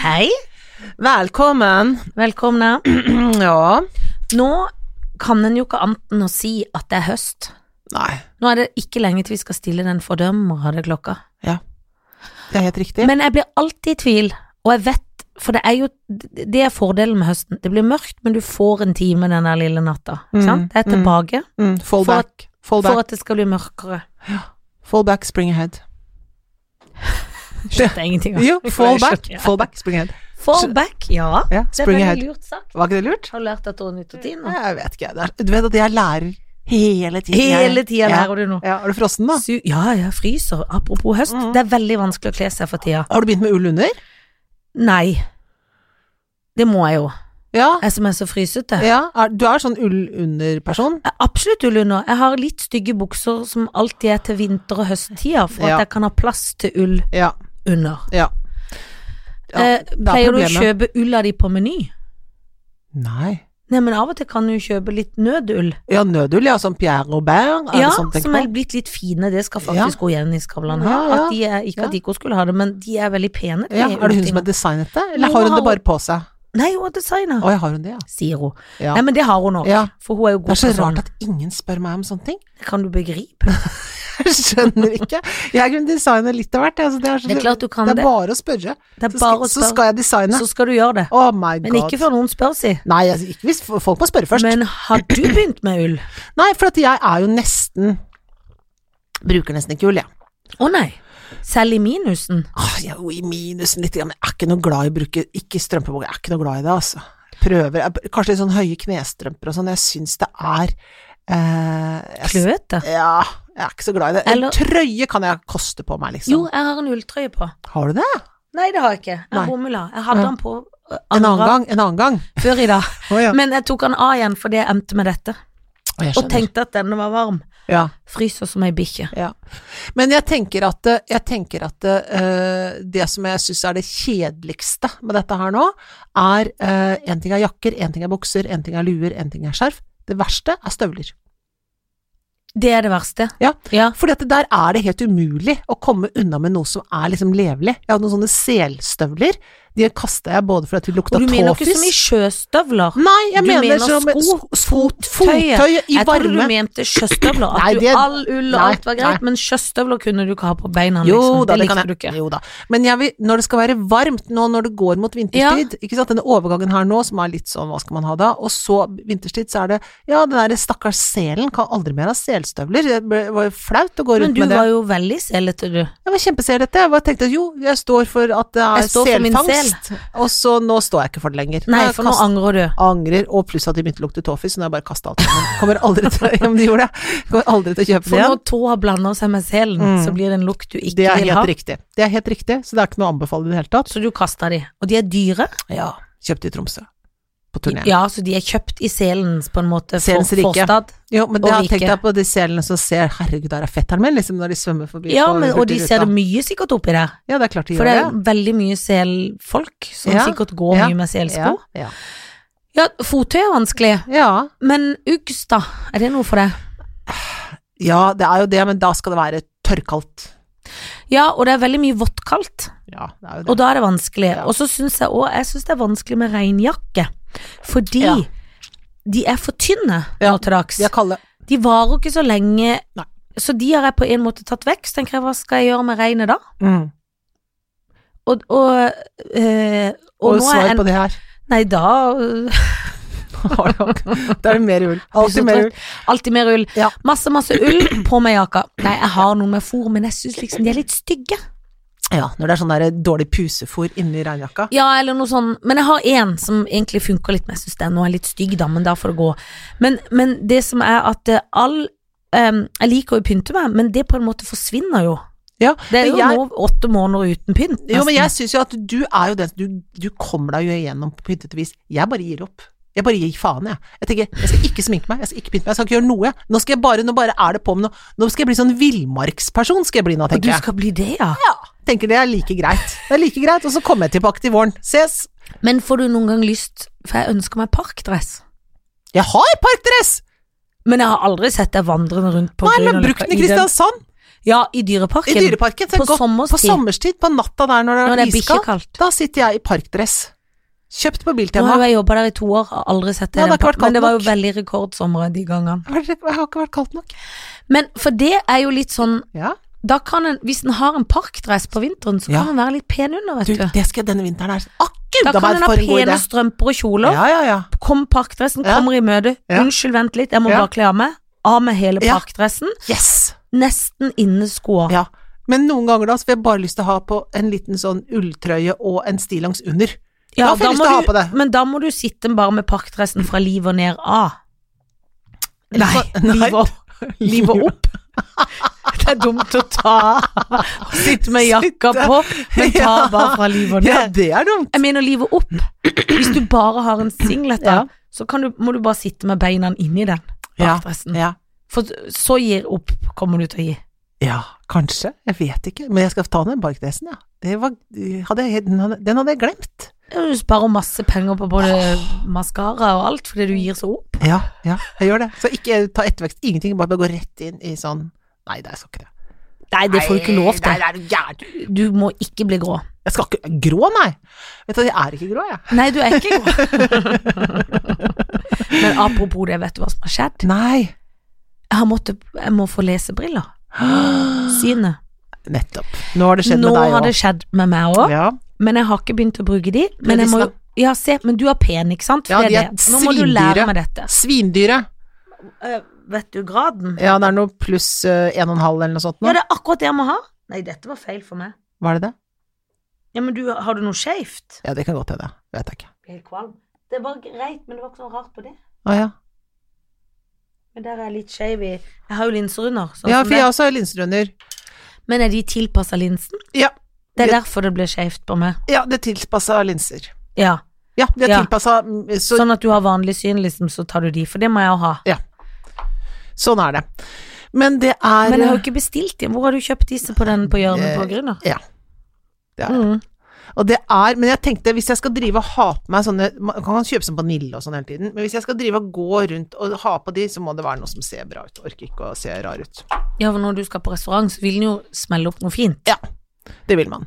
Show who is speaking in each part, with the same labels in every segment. Speaker 1: Hei.
Speaker 2: Velkommen.
Speaker 1: Velkomne.
Speaker 2: Ja.
Speaker 1: Nå kan en jo ikke annet enn å si at det er høst.
Speaker 2: Nei,
Speaker 1: Nå er det ikke lenge til vi skal stille den fordømmede klokka.
Speaker 2: det er helt riktig.
Speaker 1: Men jeg blir alltid i tvil, og jeg vet, for det er jo det er fordelen med høsten. Det blir mørkt, men du får en time den der lille natta. Ikke
Speaker 2: Mm,
Speaker 1: sant? Det er
Speaker 2: mm.
Speaker 1: tilbake
Speaker 2: mm, fall
Speaker 1: for at-
Speaker 2: back. Fall
Speaker 1: for
Speaker 2: back.
Speaker 1: at det skal bli mørkere.
Speaker 2: Fall back, spring ahead.
Speaker 1: Skjønte jeg ingenting av.
Speaker 2: Jo, fall back.
Speaker 1: Skjønte jeg.
Speaker 2: Fall back, spring ahead.
Speaker 1: Fall back, ja.
Speaker 2: Ja,
Speaker 1: Det er
Speaker 2: spring ahead.
Speaker 1: veldig lurt sagt.
Speaker 2: Var ikke det lurt?
Speaker 1: Har du lært dette over nyttårstid nå?
Speaker 2: Jeg vet ikke. Det er- Du vet at jeg lærer hele tiden. jeg.
Speaker 1: Hele tida
Speaker 2: ja.
Speaker 1: lærer du noe.
Speaker 2: ja, Er du frossen, da?
Speaker 1: Su ja, jeg fryser. Apropos høst,
Speaker 2: Mm.
Speaker 1: det er veldig vanskelig å kle seg for tida.
Speaker 2: Har du begynt med ull under?
Speaker 1: Nei. Det må jeg jo,
Speaker 2: Ja.
Speaker 1: jeg som er så frysete.
Speaker 2: ja. Er, du er sånn ull under-person?
Speaker 1: Jeg er absolutt ull under. Jeg har litt stygge bukser som alltid er til vinter- og høsttida, for
Speaker 2: Ja.
Speaker 1: at jeg kan ha plass til ull
Speaker 2: Ja.
Speaker 1: under.
Speaker 2: ja. Ja,
Speaker 1: eh,
Speaker 2: det er
Speaker 1: pleier du å
Speaker 2: problemet.
Speaker 1: kjøpe ulla di på Meny?
Speaker 2: Nei.
Speaker 1: Nei, men av og til kan du kjøpe litt nødull.
Speaker 2: Ja, nødull, ja. Sånn Pierre Robert? Er
Speaker 1: Ja,
Speaker 2: det sånn du
Speaker 1: som
Speaker 2: tenker
Speaker 1: er
Speaker 2: på?
Speaker 1: blitt litt fine. Det skal faktisk gå igjen i skavlene her.
Speaker 2: Ja, ja.
Speaker 1: At de er, ikke at de ikke skulle ha det, men de er veldig pene. de
Speaker 2: Ja, er det hun som
Speaker 1: ulltingene.
Speaker 2: har designet det, eller
Speaker 1: Nå
Speaker 2: har hun
Speaker 1: har
Speaker 2: det bare på seg?
Speaker 1: Nei, hun er designer,
Speaker 2: Å, ja, har hun det, ja.
Speaker 1: sier hun.
Speaker 2: ja.
Speaker 1: Nei, men det har hun nok.
Speaker 2: Ja.
Speaker 1: For hun er jo
Speaker 2: Det
Speaker 1: god
Speaker 2: er så
Speaker 1: på sånn.
Speaker 2: rart at ingen spør meg om sånne ting.
Speaker 1: Kan du begripe?
Speaker 2: Jeg skjønner ikke. Jeg kunne designe litt av hvert. Altså, det, er så,
Speaker 1: Det er klart du kan
Speaker 2: det er
Speaker 1: det.
Speaker 2: bare å spørre.
Speaker 1: Det er
Speaker 2: Så
Speaker 1: bare
Speaker 2: skal,
Speaker 1: å
Speaker 2: så
Speaker 1: spørre.
Speaker 2: skal jeg designe.
Speaker 1: Så skal du gjøre det.
Speaker 2: Oh my god.
Speaker 1: Men ikke før noen spør, si.
Speaker 2: Nei, altså, ikke hvis folk må spørre først.
Speaker 1: Men har du begynt med ull?
Speaker 2: Nei, for at jeg er jo nesten Bruker nesten ikke ull, jeg.
Speaker 1: Å nei. Selv i minusen.
Speaker 2: Åh, jeg er jo i minusen litt, men jeg er ikke noe glad i å bruke Ikke strømpebukse, jeg er ikke noe glad i det, altså. Prøver jeg, Kanskje litt sånn høye knestrømper og sånn. Jeg syns det er eh, jeg,
Speaker 1: Kløete.
Speaker 2: Ja, jeg er ikke så glad i det. En
Speaker 1: Eller-
Speaker 2: trøye kan jeg koste på meg, liksom.
Speaker 1: Jo, jeg har en ulltrøye på.
Speaker 2: Har du det?
Speaker 1: Nei, det har jeg ikke. Jeg
Speaker 2: Nei.
Speaker 1: har bomulla. Jeg hadde
Speaker 2: Ja.
Speaker 1: den på uh,
Speaker 2: En annen
Speaker 1: andre-
Speaker 2: gang? En annen gang? Mm,
Speaker 1: før i dag.
Speaker 2: Å ja.
Speaker 1: Men jeg tok den av igjen fordi jeg endte med dette.
Speaker 2: Å, jeg
Speaker 1: Og
Speaker 2: skjønner.
Speaker 1: tenkte at denne var varm.
Speaker 2: ja.
Speaker 1: Fryser som ei bikkje.
Speaker 2: Ja. Men jeg tenker at, eh, jeg tenker at eh, det som jeg syns er det kjedeligste med dette her nå, er eh, en ting er jakker, en ting er bukser, en ting er luer, en ting er skjerf. Det verste er støvler.
Speaker 1: Det er det verste.
Speaker 2: Ja.
Speaker 1: ja.
Speaker 2: Fordi at der er det helt umulig å komme unna med noe som er liksom levelig. Jeg hadde noen sånne selstøvler. De kasta jeg både fordi de lukta
Speaker 1: Og du
Speaker 2: tåfis
Speaker 1: mener jo ikke så mye sjøstøvler.
Speaker 2: Nei, jeg
Speaker 1: Du
Speaker 2: mener,
Speaker 1: mener
Speaker 2: som
Speaker 1: sko-
Speaker 2: s- fot- fottøy i
Speaker 1: Jeg trodde du
Speaker 2: varme.
Speaker 1: mente sjøstøvler. At
Speaker 2: Nei,
Speaker 1: du
Speaker 2: det-
Speaker 1: all ull og
Speaker 2: nei,
Speaker 1: alt var greit, men sjøstøvler kunne du ikke ha på beina.
Speaker 2: Jo
Speaker 1: liksom.
Speaker 2: da, det, kan
Speaker 1: likte
Speaker 2: jeg.
Speaker 1: du ikke.
Speaker 2: Jo da. Men jeg vil, når det skal være varmt nå når det går mot vinterstid, ikke sant, denne overgangen her nå som er litt sånn, hva skal man ha da, og så vinterstid, så er det ja, den der stakkars selen kan aldri mer ha selstøvler, det ble- var jo flaut å gå
Speaker 1: Men
Speaker 2: rundt
Speaker 1: du
Speaker 2: med det.
Speaker 1: var jo veldig selete, du.
Speaker 2: Jeg var kjempeselete, jeg bare tenkte at jo, jeg står for at det
Speaker 1: Jeg
Speaker 2: er
Speaker 1: står for min
Speaker 2: selfangst, og så nå står jeg ikke for det lenger.
Speaker 1: Nei,
Speaker 2: Jeg
Speaker 1: for nå
Speaker 2: kast-
Speaker 1: angrer du.
Speaker 2: Angrer, og pluss at de begynte å lukte toffis, så nå har jeg bare kasta alt sammen. Kommer aldri til, ja, men de gjorde det. Kommer aldri til å kjøpe det
Speaker 1: For
Speaker 2: igjen.
Speaker 1: når tåa blander seg med selen,
Speaker 2: Mm.
Speaker 1: så blir det en lukt du
Speaker 2: Det
Speaker 1: ikke
Speaker 2: er
Speaker 1: vil ha.
Speaker 2: helt riktig. Det er helt riktig, så det er ikke noe å anbefale i det hele tatt.
Speaker 1: Så du kasta de. Og de er dyre.
Speaker 2: Ja, kjøpte i Tromsø. På turné.
Speaker 1: Ja, så de er kjøpt i selens, på en måte, for,
Speaker 2: Selens rike.
Speaker 1: forstad.
Speaker 2: Jo, men det
Speaker 1: Og
Speaker 2: har jeg
Speaker 1: rike.
Speaker 2: tenkt deg på de selene som ser 'herregud, der er fetteren min', liksom når de svømmer forbi.
Speaker 1: Ja,
Speaker 2: på
Speaker 1: men, og de
Speaker 2: Hurtigruta.
Speaker 1: ser det mye sikkert oppi der.
Speaker 2: Ja, det er klart de
Speaker 1: For
Speaker 2: gjør
Speaker 1: det
Speaker 2: det.
Speaker 1: er veldig mye selfolk som
Speaker 2: Ja.
Speaker 1: sikkert går
Speaker 2: Ja.
Speaker 1: mye med selsko.
Speaker 2: Ja, ja.
Speaker 1: Ja, fottøy er vanskelig,
Speaker 2: Ja.
Speaker 1: men uggs, da? Er det noe for deg?
Speaker 2: ja, det er jo det, men da skal det være tørrkaldt.
Speaker 1: Ja, og det er veldig mye våttkaldt,
Speaker 2: Ja, det er jo det.
Speaker 1: og da er det vanskelig.
Speaker 2: Ja.
Speaker 1: Og så syns jeg òg jeg synes det er vanskelig med regnjakke, fordi
Speaker 2: Ja.
Speaker 1: de er for tynne
Speaker 2: Ja.
Speaker 1: nå til dags.
Speaker 2: de er kalde.
Speaker 1: De varer ikke så lenge,
Speaker 2: Nei.
Speaker 1: så de har jeg på en måte tatt vekk. Så tenker jeg, hva skal jeg gjøre med regnet da?
Speaker 2: Mm.
Speaker 1: Og, og, eh,
Speaker 2: Og,
Speaker 1: og nå er
Speaker 2: svar
Speaker 1: jeg
Speaker 2: på det her.
Speaker 1: Nei, da øh,
Speaker 2: da er det mer ull. Alltid mer ull.
Speaker 1: Alltid mer ull.
Speaker 2: Ja.
Speaker 1: Masse, masse ull på meg jakka. Nei, jeg har noen med fôr, men jeg syns liksom de er litt stygge.
Speaker 2: Ja, når det er sånn der dårlig pusefôr inni regnjakka.
Speaker 1: Ja, eller noe sånn Men jeg har én som egentlig funker litt, men jeg syns den nå er litt stygg, da, men da får det gå. Men, men det som er at eh, all em, Jeg liker jo å pynte meg, men det på en måte forsvinner jo.
Speaker 2: Ja,
Speaker 1: Det er jo
Speaker 2: men jeg-
Speaker 1: nå åtte måneder uten pynt.
Speaker 2: Jo,
Speaker 1: nesten.
Speaker 2: men jeg syns jo at du er jo den du, du kommer deg jo igjennom på pyntete vis. Jeg bare gir opp. Jeg bare gir faen, jeg. Jeg tenker, jeg skal ikke sminke meg, jeg skal ikke pynte meg, jeg skal ikke gjøre noe. jeg. Nå skal jeg bare, nå bare er det på med noe. Nå skal jeg bli sånn villmarksperson, skal jeg bli nå,
Speaker 1: Og
Speaker 2: tenker
Speaker 1: du
Speaker 2: jeg.
Speaker 1: skal bli det, ja.
Speaker 2: Ja, tenker det er like greit. Det er like greit, og så kommer jeg tilbake til våren. Ses!
Speaker 1: Men får du noen gang lyst For jeg ønsker meg parkdress.
Speaker 2: Jeg har parkdress!
Speaker 1: Men jeg har aldri sett deg vandrende rundt på
Speaker 2: Nei, men
Speaker 1: Grünerløkka
Speaker 2: bruk den
Speaker 1: i
Speaker 2: i
Speaker 1: den-
Speaker 2: Kristiansand!
Speaker 1: Ja, i Dyreparken.
Speaker 2: I Dyreparken. så
Speaker 1: På
Speaker 2: godt-
Speaker 1: sommerstid.
Speaker 2: På sommerstid, på natta der når det
Speaker 1: Når
Speaker 2: er
Speaker 1: det er
Speaker 2: iskaldt.
Speaker 1: bikkjekaldt.
Speaker 2: Da sitter jeg i parkdress. Kjøpt på
Speaker 1: Nå
Speaker 2: Biltema.
Speaker 1: har jo jeg jobba der i to år, har aldri sett det.
Speaker 2: Ja, det har ikke vært kaldt
Speaker 1: men det var jo
Speaker 2: nok.
Speaker 1: veldig rekordsomre de gangene.
Speaker 2: Har det- Jeg har ikke vært kaldt nok.
Speaker 1: Men for det er jo litt sånn
Speaker 2: Ja.
Speaker 1: da kan en, Hvis en har en parkdress på vinteren, så
Speaker 2: Ja.
Speaker 1: kan en være litt pen under, vet
Speaker 2: Du,
Speaker 1: du.
Speaker 2: det skal jeg denne vinteren her. Ah,
Speaker 1: da
Speaker 2: Akkurat
Speaker 1: kan en ha
Speaker 2: for en god
Speaker 1: pene
Speaker 2: idé.
Speaker 1: strømper og kjoler.
Speaker 2: Ja, ja, ja.
Speaker 1: Kom parkdressen,
Speaker 2: Ja.
Speaker 1: kommer i møte.
Speaker 2: Ja.
Speaker 1: Unnskyld, vent litt, jeg må
Speaker 2: Ja.
Speaker 1: bare kle av meg. Av med hele
Speaker 2: Ja.
Speaker 1: parkdressen.
Speaker 2: Yes!
Speaker 1: Nesten inneskoa.
Speaker 2: Ja. Men noen ganger da så får jeg bare lyst til å ha på en liten sånn ulltrøye og en stillongs under. Da får jeg lyst
Speaker 1: må
Speaker 2: til å ha
Speaker 1: du-
Speaker 2: på det.
Speaker 1: Men da må du sitte bare med parkdressen fra livet og ned av. Eller
Speaker 2: Nei,
Speaker 1: fra
Speaker 2: nei.
Speaker 1: Livet opp. Livet opp. Det er dumt å ta av. Sitte med jakka
Speaker 2: Sitte.
Speaker 1: på, men ta
Speaker 2: Ja.
Speaker 1: bare fra livet og
Speaker 2: Ja,
Speaker 1: ned.
Speaker 2: det er dumt.
Speaker 1: Jeg mener livet opp. Hvis du bare har en singlet, da,
Speaker 2: Ja.
Speaker 1: så kan du, må du bare sitte med beina inni den
Speaker 2: Ja.
Speaker 1: parkdressen.
Speaker 2: Ja.
Speaker 1: For så gir opp, kommer du til å gi.
Speaker 2: ja, kanskje. Jeg vet ikke. Men jeg skal ta den parkdressen, ja. Det var, hadde jeg, den hadde- den hadde jeg glemt.
Speaker 1: Du sparer masse penger på både maskara og alt, fordi du gir så opp.
Speaker 2: Ja, ja, jeg gjør det. Så ikke ta ettervekst. Ingenting. Bare gå rett inn i sånn Nei, det skal ikke det.
Speaker 1: Nei, det får du ikke lov
Speaker 2: Nei,
Speaker 1: til.
Speaker 2: det er du gæren.
Speaker 1: Du må ikke bli grå.
Speaker 2: Jeg skal ikke Grå, nei. Vet du, jeg er ikke grå, jeg.
Speaker 1: Nei, du er ikke grå. Men apropos det, vet du hva som har skjedd?
Speaker 2: Nei.
Speaker 1: Jeg, har måttet, jeg må få lesebriller. Synet.
Speaker 2: Nettopp. Nå har det skjedd
Speaker 1: Nå
Speaker 2: med deg
Speaker 1: har det
Speaker 2: også.
Speaker 1: skjedd med meg òg,
Speaker 2: Ja.
Speaker 1: men jeg har ikke begynt å bruke de. Men, jeg må, jo-
Speaker 2: Prøvdisene.
Speaker 1: ja, se, men du er pen, ikke sant?
Speaker 2: Ja,
Speaker 1: Det
Speaker 2: de er
Speaker 1: det. Nå må du lære
Speaker 2: svindyre.
Speaker 1: meg dette.
Speaker 2: Svindyret.
Speaker 1: Eh, vet du graden?
Speaker 2: Ja, det er noe pluss eh, en og en halv eller noe sånt nå.
Speaker 1: Ja, det er akkurat det jeg må ha. Nei, dette var feil for meg.
Speaker 2: Var det det?
Speaker 1: Ja, men du, har du noe skeivt?
Speaker 2: Ja, det kan godt hende. Vet jeg ikke.
Speaker 1: Blir helt kvalm. Det var greit, men det var ikke noe rart på det.
Speaker 2: Å ja.
Speaker 1: Men der er jeg litt skeiv i Jeg har jo linser under. Sånn
Speaker 2: Ja,
Speaker 1: som
Speaker 2: for
Speaker 1: det.
Speaker 2: jeg også har linser under.
Speaker 1: Men er de tilpassa linsen?
Speaker 2: Ja.
Speaker 1: Det er
Speaker 2: Ja.
Speaker 1: derfor det ble skeivt på meg.
Speaker 2: Ja, det er tilpassa linser.
Speaker 1: Ja,
Speaker 2: Ja, det er
Speaker 1: Ja.
Speaker 2: tilpassa mm, så,
Speaker 1: Sånn at du har vanlig syn, liksom, så tar du de, for det må jeg jo ha.
Speaker 2: Sånn er det. Men det er
Speaker 1: Men jeg har jo ikke bestilt de. Hvor har du kjøpt disse på den på hjørnet på
Speaker 2: Eh,
Speaker 1: Grüner?
Speaker 2: Ja. Det er, det.
Speaker 1: Mm.
Speaker 2: og det er, men jeg tenkte hvis jeg skal drive og ha på meg sånne Man kan kjøpe sånn vanilje og sånn hele tiden, men hvis jeg skal drive og gå rundt og ha på de, så må det være noe som ser bra ut. Orker ikke å se rar ut.
Speaker 1: Ja, for når du skal på restaurant, så vil den jo smelle opp noe fint.
Speaker 2: Ja, det vil man.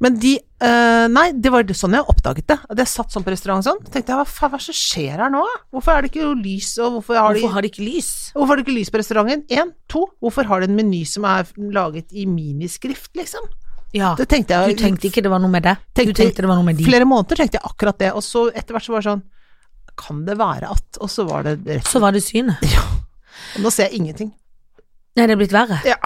Speaker 2: Men de eh, Nei, det var sånn jeg oppdaget det. At jeg satt sånn på restaurant sånn. Tenkte jeg, hva faen, hva er det som skjer her nå? Hvorfor er det ikke noe lys, og hvorfor har de
Speaker 1: Hvorfor har de ikke lys?
Speaker 2: Hvorfor har det ikke lys på restauranten? Én. To. Hvorfor har de en meny som er laget i miniskrift, liksom?
Speaker 1: Ja,
Speaker 2: Det tenkte
Speaker 1: du
Speaker 2: jeg
Speaker 1: tenkte ikke det var noe med det. Du
Speaker 2: Tenkte-
Speaker 1: tenkte det var noe med de.
Speaker 2: Flere måneder tenkte jeg akkurat det, og så etter hvert så var det sånn Kan det være at Og så var det rett
Speaker 1: Så var det synet.
Speaker 2: Ja. Og nå ser jeg ingenting.
Speaker 1: Nei, det er blitt verre.
Speaker 2: Ja.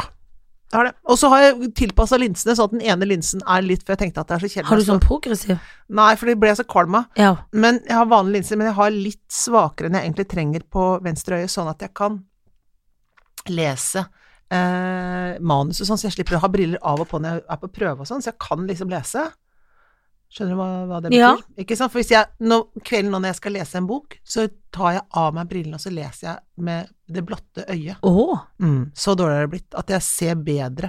Speaker 2: Det har det. Og så har jeg tilpassa linsene, sånn at den ene linsen er litt For jeg tenkte at det er så kjedelig.
Speaker 1: Har du
Speaker 2: å stå-
Speaker 1: sånn progressiv?
Speaker 2: Nei, for det ble jeg så kvalm av.
Speaker 1: Ja.
Speaker 2: Men jeg har vanlige linser, men jeg har litt svakere enn jeg egentlig trenger på venstre øye, sånn at jeg kan lese eh, manus og sånn, så jeg slipper å ha briller av og på når jeg er på prøve og sånn, så jeg kan liksom lese. Skjønner du hva, hva det betyr?
Speaker 1: Ja.
Speaker 2: Ikke sant? For hvis jeg, nå, kvelden nå når jeg skal lese en bok, så tar jeg av meg brillene, og så leser jeg med det blotte øyet.
Speaker 1: Å,
Speaker 2: Mm, så dårlig er det blitt, at jeg ser bedre.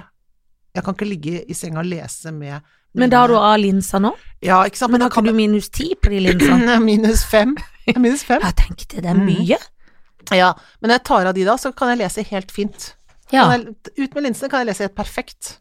Speaker 2: Jeg kan ikke ligge i senga og lese med
Speaker 1: men da har du av linsa nå?
Speaker 2: Ja, ikke sant?
Speaker 1: Men
Speaker 2: Men da
Speaker 1: har
Speaker 2: kan
Speaker 1: ikke du Mm.
Speaker 2: du
Speaker 1: minus ti på de linsene?
Speaker 2: Minus fem. Minus fem.
Speaker 1: Jeg tenkte det er
Speaker 2: Mm.
Speaker 1: mye.
Speaker 2: Ja, men når jeg tar av de da, så kan jeg lese helt fint.
Speaker 1: Ja.
Speaker 2: Kan jeg, ut med linsene kan jeg lese helt perfekt.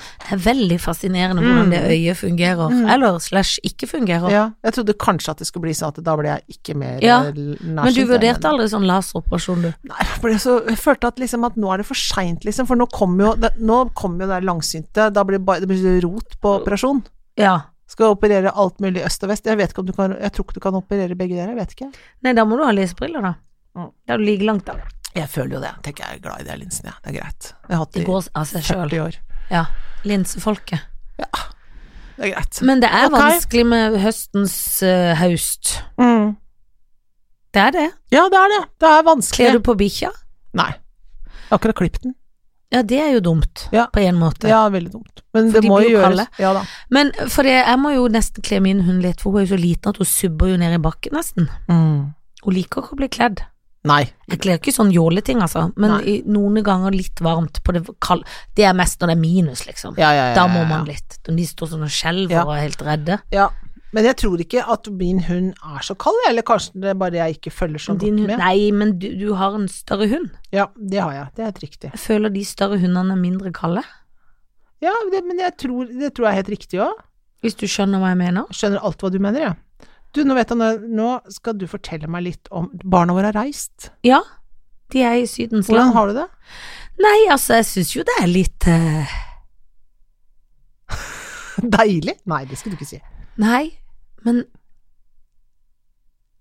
Speaker 1: Det er veldig fascinerende hvordan det øyet fungerer, eller slash ikke fungerer.
Speaker 2: Ja, jeg trodde kanskje at det skulle bli sånn at da ble jeg ikke mer
Speaker 1: Ja,
Speaker 2: eh, nærsynt.
Speaker 1: Men du vurderte aldri sånn laseroperasjon, du?
Speaker 2: Nei, jeg ble så, jeg følte at, liksom, at nå er det for seint, liksom. For nå kommer jo, det- nå kommer jo det der langsynte. Da blir det, bare, det blir rot på operasjon.
Speaker 1: Ja.
Speaker 2: Skal operere alt mulig i øst og vest. Jeg, vet ikke om du kan, jeg tror ikke du kan operere begge deler, jeg vet ikke.
Speaker 1: Nei, da må du ha lesebriller, da.
Speaker 2: Mm.
Speaker 1: Da er du like langt, da.
Speaker 2: Jeg føler jo det. Tenker jeg er glad i de linsene, ja. Det er greit. Jeg har hatt
Speaker 1: Det
Speaker 2: det i
Speaker 1: går av seg sjøl.
Speaker 2: 40 år.
Speaker 1: Ja. Linsefolket.
Speaker 2: Det er greit.
Speaker 1: Men det er
Speaker 2: Ok.
Speaker 1: vanskelig med høstens eh, høst.
Speaker 2: Mm.
Speaker 1: Det er det.
Speaker 2: Ja, det er det. Det er vanskelig.
Speaker 1: Kler du på bikkja?
Speaker 2: Nei. Jeg har akkurat klippet den.
Speaker 1: Ja, det er jo dumt,
Speaker 2: Ja.
Speaker 1: på en måte.
Speaker 2: Ja, veldig dumt. Men
Speaker 1: For
Speaker 2: det
Speaker 1: de
Speaker 2: må
Speaker 1: blir
Speaker 2: jo
Speaker 1: jo
Speaker 2: gjøres.
Speaker 1: kalde.
Speaker 2: Ja da.
Speaker 1: Men for det, jeg må jo nesten kle min hund litt, for hun er jo så liten at hun subber jo ned i bakken, nesten. Mm. Hun liker ikke å bli kledd.
Speaker 2: Nei.
Speaker 1: Jeg kler ikke sånn jåleting, altså, men
Speaker 2: Nei.
Speaker 1: i, noen ganger litt varmt. På det, kald, det er mest når det er minus, liksom.
Speaker 2: Ja, ja, ja, ja,
Speaker 1: Da må
Speaker 2: ja.
Speaker 1: man litt. Når de står sånn og skjelver
Speaker 2: Ja.
Speaker 1: og er helt redde.
Speaker 2: Ja. Men jeg tror ikke at min hund er så kald, eller kanskje det er bare jeg ikke følger så
Speaker 1: Din
Speaker 2: godt
Speaker 1: hund,
Speaker 2: med.
Speaker 1: nei, men du, du har en større hund.
Speaker 2: Ja, det har jeg. Det er helt riktig.
Speaker 1: Jeg føler de større hundene er mindre kalde.
Speaker 2: Ja, det, men jeg tror, det tror jeg er helt riktig òg.
Speaker 1: Hvis du skjønner hva jeg mener.
Speaker 2: Skjønner alt hva du mener, jeg. Du, nå vet jeg, nå- nå skal du fortelle meg litt om Barna våre har reist.
Speaker 1: Ja, de er i Sydens
Speaker 2: Hvordan
Speaker 1: land.
Speaker 2: har du det?
Speaker 1: Nei, altså, jeg syns jo det er litt eh,
Speaker 2: Deilig? Nei, det skal du ikke si.
Speaker 1: Nei, men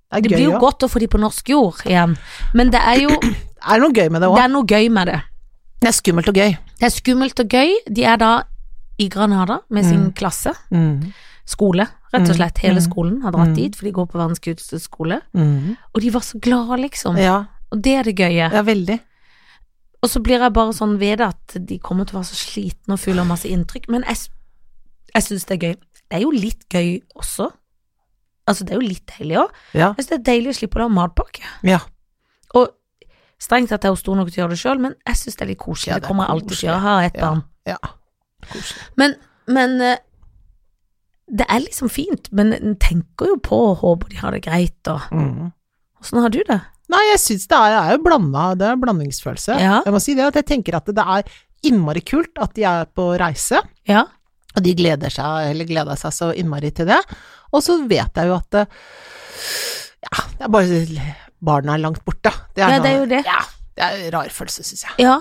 Speaker 2: Det er
Speaker 1: det
Speaker 2: gøy
Speaker 1: blir jo
Speaker 2: også.
Speaker 1: godt å få de på norsk jord igjen. Men det er jo
Speaker 2: Er det noe gøy med det
Speaker 1: Det
Speaker 2: òg?
Speaker 1: er noe gøy med det.
Speaker 2: Det er skummelt og gøy.
Speaker 1: Det er skummelt og gøy. De er da i Granada med sin
Speaker 2: Mm.
Speaker 1: klasse. Skole, rett og slett. Hele skolen har
Speaker 2: Mm.
Speaker 1: dratt dit, for de går på verdens kuleste skole. Og de var så glade, liksom.
Speaker 2: Ja,
Speaker 1: Og det er det gøye.
Speaker 2: Mm. ja, veldig.
Speaker 1: Og så blir jeg bare sånn ved det at de kommer til å være så slitne og fulle av masse inntrykk. Men jeg, s- jeg syns det er gøy. Det er jo litt gøy også. Altså, det er jo litt deilig òg.
Speaker 2: Ja.
Speaker 1: Jeg syns det er deilig å slippe å lage matpakke.
Speaker 2: ja.
Speaker 1: Og strengt tatt er hun stor nok til å gjøre det sjøl, men jeg syns det er litt koselig.
Speaker 2: Ja, det
Speaker 1: det,
Speaker 2: er
Speaker 1: kommer jeg alltid til å gjøre. Jeg har ett
Speaker 2: Ja.
Speaker 1: barn.
Speaker 2: ja. Koselig.
Speaker 1: Men, men eh, det er liksom fint, men en tenker jo på og håper de har det greit, og åssen har du det?
Speaker 2: Mm. Nei, jeg syns det er, er jo blanda, det er en blandingsfølelse.
Speaker 1: Ja.
Speaker 2: Jeg må si det at jeg tenker at det er innmari kult at de er på reise,
Speaker 1: Ja,
Speaker 2: og de gleder seg, eller gleder seg så innmari til det. Og så vet jeg jo at det, ja, det er bare barna er langt borte.
Speaker 1: Ja,
Speaker 2: noe-
Speaker 1: det er jo det.
Speaker 2: Ja, det er en rar følelse, syns jeg.
Speaker 1: ja.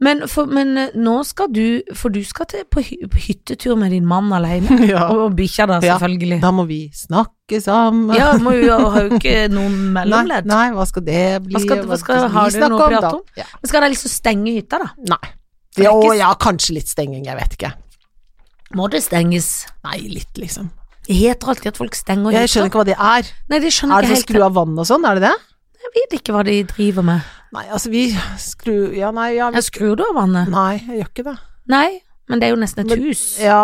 Speaker 1: Men, for, men eh, nå skal du, for du skal til, på, hy på hyttetur med din mann alene,
Speaker 2: Ja.
Speaker 1: og, og bikkja da,
Speaker 2: Ja.
Speaker 1: selvfølgelig.
Speaker 2: Da må vi snakke sammen.
Speaker 1: Ja, må jo ha jo ikke noen
Speaker 2: nei,
Speaker 1: mellomledd.
Speaker 2: nei, hva skal det bli?
Speaker 1: Hva skal- hva skal-
Speaker 2: vi
Speaker 1: har du
Speaker 2: snakke
Speaker 1: noe å
Speaker 2: om
Speaker 1: prate
Speaker 2: da?
Speaker 1: om?
Speaker 2: Ja.
Speaker 1: Men skal dere liksom stenge hytta, da?
Speaker 2: Nei.
Speaker 1: det er
Speaker 2: Jo,
Speaker 1: ikke s-
Speaker 2: ja, kanskje litt stenging, jeg vet ikke.
Speaker 1: Må det stenges?
Speaker 2: Nei, litt, liksom.
Speaker 1: Det heter alltid at folk stenger
Speaker 2: Jeg skjønner
Speaker 1: hytta.
Speaker 2: ikke hva det er.
Speaker 1: Nei, det skjønner
Speaker 2: Er
Speaker 1: ikke
Speaker 2: det for å
Speaker 1: helt.
Speaker 2: skru av vann og sånn, er det det?
Speaker 1: Jeg vet ikke hva de driver med.
Speaker 2: Nei, altså vi skru... Ja, nei, ja vi...
Speaker 1: Jeg skrur du av vannet?
Speaker 2: Nei, jeg gjør ikke det.
Speaker 1: Nei, men det er jo nesten et
Speaker 2: Men-
Speaker 1: hus.
Speaker 2: Ja,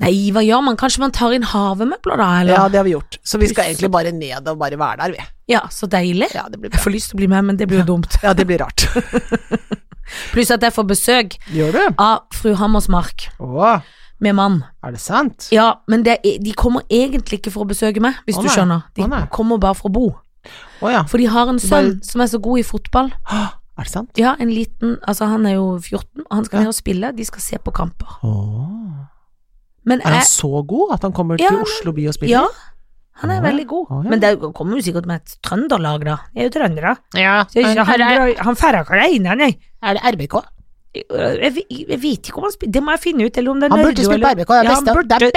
Speaker 1: Nei, hva gjør man? Kanskje man tar inn havemøbler da, eller?
Speaker 2: ja,
Speaker 1: Ja,
Speaker 2: det har vi gjort. Så vi skal
Speaker 1: Puss.
Speaker 2: egentlig bare ned og bare være der, vi.
Speaker 1: så deilig.
Speaker 2: Ja, det blir
Speaker 1: Jeg
Speaker 2: bra.
Speaker 1: får lyst til å bli med, men det blir jo dumt.
Speaker 2: Ja, det blir rart.
Speaker 1: Pluss at jeg får besøk
Speaker 2: Gjør du?
Speaker 1: av fru Hammersmark
Speaker 2: Å,
Speaker 1: med mann.
Speaker 2: er det sant?
Speaker 1: Ja, men det, er- de kommer egentlig ikke for å besøke meg, hvis
Speaker 2: Å
Speaker 1: du
Speaker 2: nei.
Speaker 1: skjønner. De
Speaker 2: Å nei.
Speaker 1: kommer bare for å bo.
Speaker 2: Å ja.
Speaker 1: For de har en
Speaker 2: Bare-
Speaker 1: sønn som er så god i fotball.
Speaker 2: Å, Er det sant?
Speaker 1: Ja, en liten, altså han er jo 14, og han skal
Speaker 2: Ja.
Speaker 1: ned og spille, de skal se på kamper.
Speaker 2: Å.
Speaker 1: Men
Speaker 2: Er han
Speaker 1: jeg,
Speaker 2: så god at han kommer
Speaker 1: Ja,
Speaker 2: til
Speaker 1: men-
Speaker 2: Oslo by og spiller?
Speaker 1: ja, han er
Speaker 2: Å ja.
Speaker 1: veldig god.
Speaker 2: Å ja.
Speaker 1: Men det kommer jo sikkert med et trønderlag da. Jeg er jo trønder da.
Speaker 2: Ja.
Speaker 1: Så ikke, han, han, han færre ikke alene, nei.
Speaker 2: Er det RBK?
Speaker 1: Jeg, jeg, jeg vet ikke om han spiller, det må jeg finne ut. Eller om det er
Speaker 2: Han burde
Speaker 1: Nardo,
Speaker 2: spille på
Speaker 1: eller-
Speaker 2: RBK, det er,
Speaker 1: Ja, han
Speaker 2: beste, det
Speaker 1: burde-
Speaker 2: er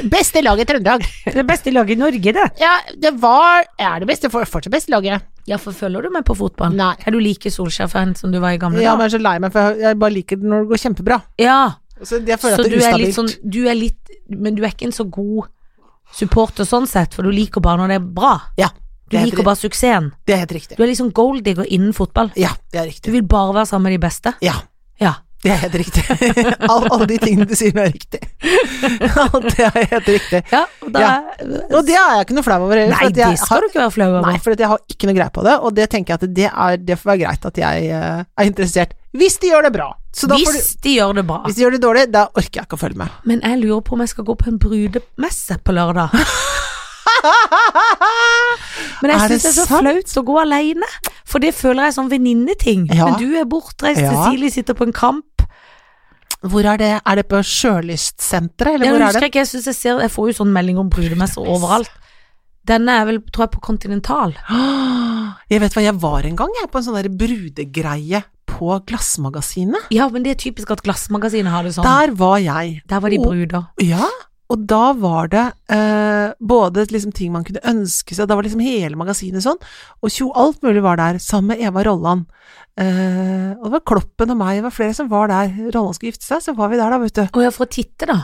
Speaker 2: beste, beste laget i Trøndelag.
Speaker 1: det beste laget i Norge, det.
Speaker 2: Ja, det var Er det beste, for- fortsatt beste laget.
Speaker 1: Ja, for følger du med på fotball?
Speaker 2: Nei.
Speaker 1: Er du like Solskjær-fan som du var i gamle
Speaker 2: Ja, men
Speaker 1: dager?
Speaker 2: jeg er så lei meg, for jeg- jeg bare liker det når det går kjempebra.
Speaker 1: Ja,
Speaker 2: Så jeg føler
Speaker 1: så
Speaker 2: at det
Speaker 1: du
Speaker 2: er
Speaker 1: er litt
Speaker 2: ustabilt.
Speaker 1: sånn, du er litt, men du er ikke en så god supporter sånn sett, for du liker bare når det er bra.
Speaker 2: Ja,
Speaker 1: Du
Speaker 2: det er, helt,
Speaker 1: liker
Speaker 2: ri-
Speaker 1: bare suksessen.
Speaker 2: det er helt riktig.
Speaker 1: Du er liksom golddigger innen fotball.
Speaker 2: Ja, det er
Speaker 1: Du
Speaker 2: riktig.
Speaker 1: vil bare være sammen med de beste.
Speaker 2: Ja,
Speaker 1: Ja.
Speaker 2: det er helt riktig. All, alle de tingene du sier nå er riktig. Alt det er helt riktig.
Speaker 1: Ja, og da
Speaker 2: Ja. Og det er jeg ikke noe flau over heller.
Speaker 1: Nei,
Speaker 2: for at jeg
Speaker 1: det skal
Speaker 2: har-
Speaker 1: du ikke være flau over.
Speaker 2: Nei, for at jeg har ikke noe greie på det, og det tenker jeg at det, er, det får være greit at jeg eh, er interessert. Hvis de gjør det bra. Så da får du,
Speaker 1: Hvis de gjør det bra.
Speaker 2: hvis de gjør det dårlig, da orker jeg ikke å følge med.
Speaker 1: Men jeg lurer på om jeg skal gå på en brudemesse på lørdag. Men jeg
Speaker 2: Er det
Speaker 1: syns det er så
Speaker 2: sant?
Speaker 1: flaut å gå alene, for det føler jeg er sånn venninneting.
Speaker 2: Ja.
Speaker 1: Men du er bortreist,
Speaker 2: Ja.
Speaker 1: Cecilie sitter på en kamp.
Speaker 2: Hvor er det? Er det på Sjølystsenteret, eller
Speaker 1: Jeg
Speaker 2: hvor er
Speaker 1: husker
Speaker 2: det?
Speaker 1: ikke, jeg synes jeg ser Jeg får jo sånn melding om brudemesser overalt. Denne er vel, tror jeg, på Continental.
Speaker 2: Åh, Jeg vet hva, jeg var en gang jeg, på en sånn der brudegreie på Glassmagasinet.
Speaker 1: Ja, men det er typisk at Glassmagasinet har det sånn. Der,
Speaker 2: Der var jeg.
Speaker 1: var de bruder.
Speaker 2: Ja, og da var det eh, både liksom ting man kunne ønske seg, da var liksom hele magasinet sånn, og tjo, alt mulig var der, sammen med Eva Rolland. Eh, og det var Kloppen og meg, det var flere som var der. Rolland skulle gifte seg, så var vi der da, vet du.
Speaker 1: Å ja, for å titte, da.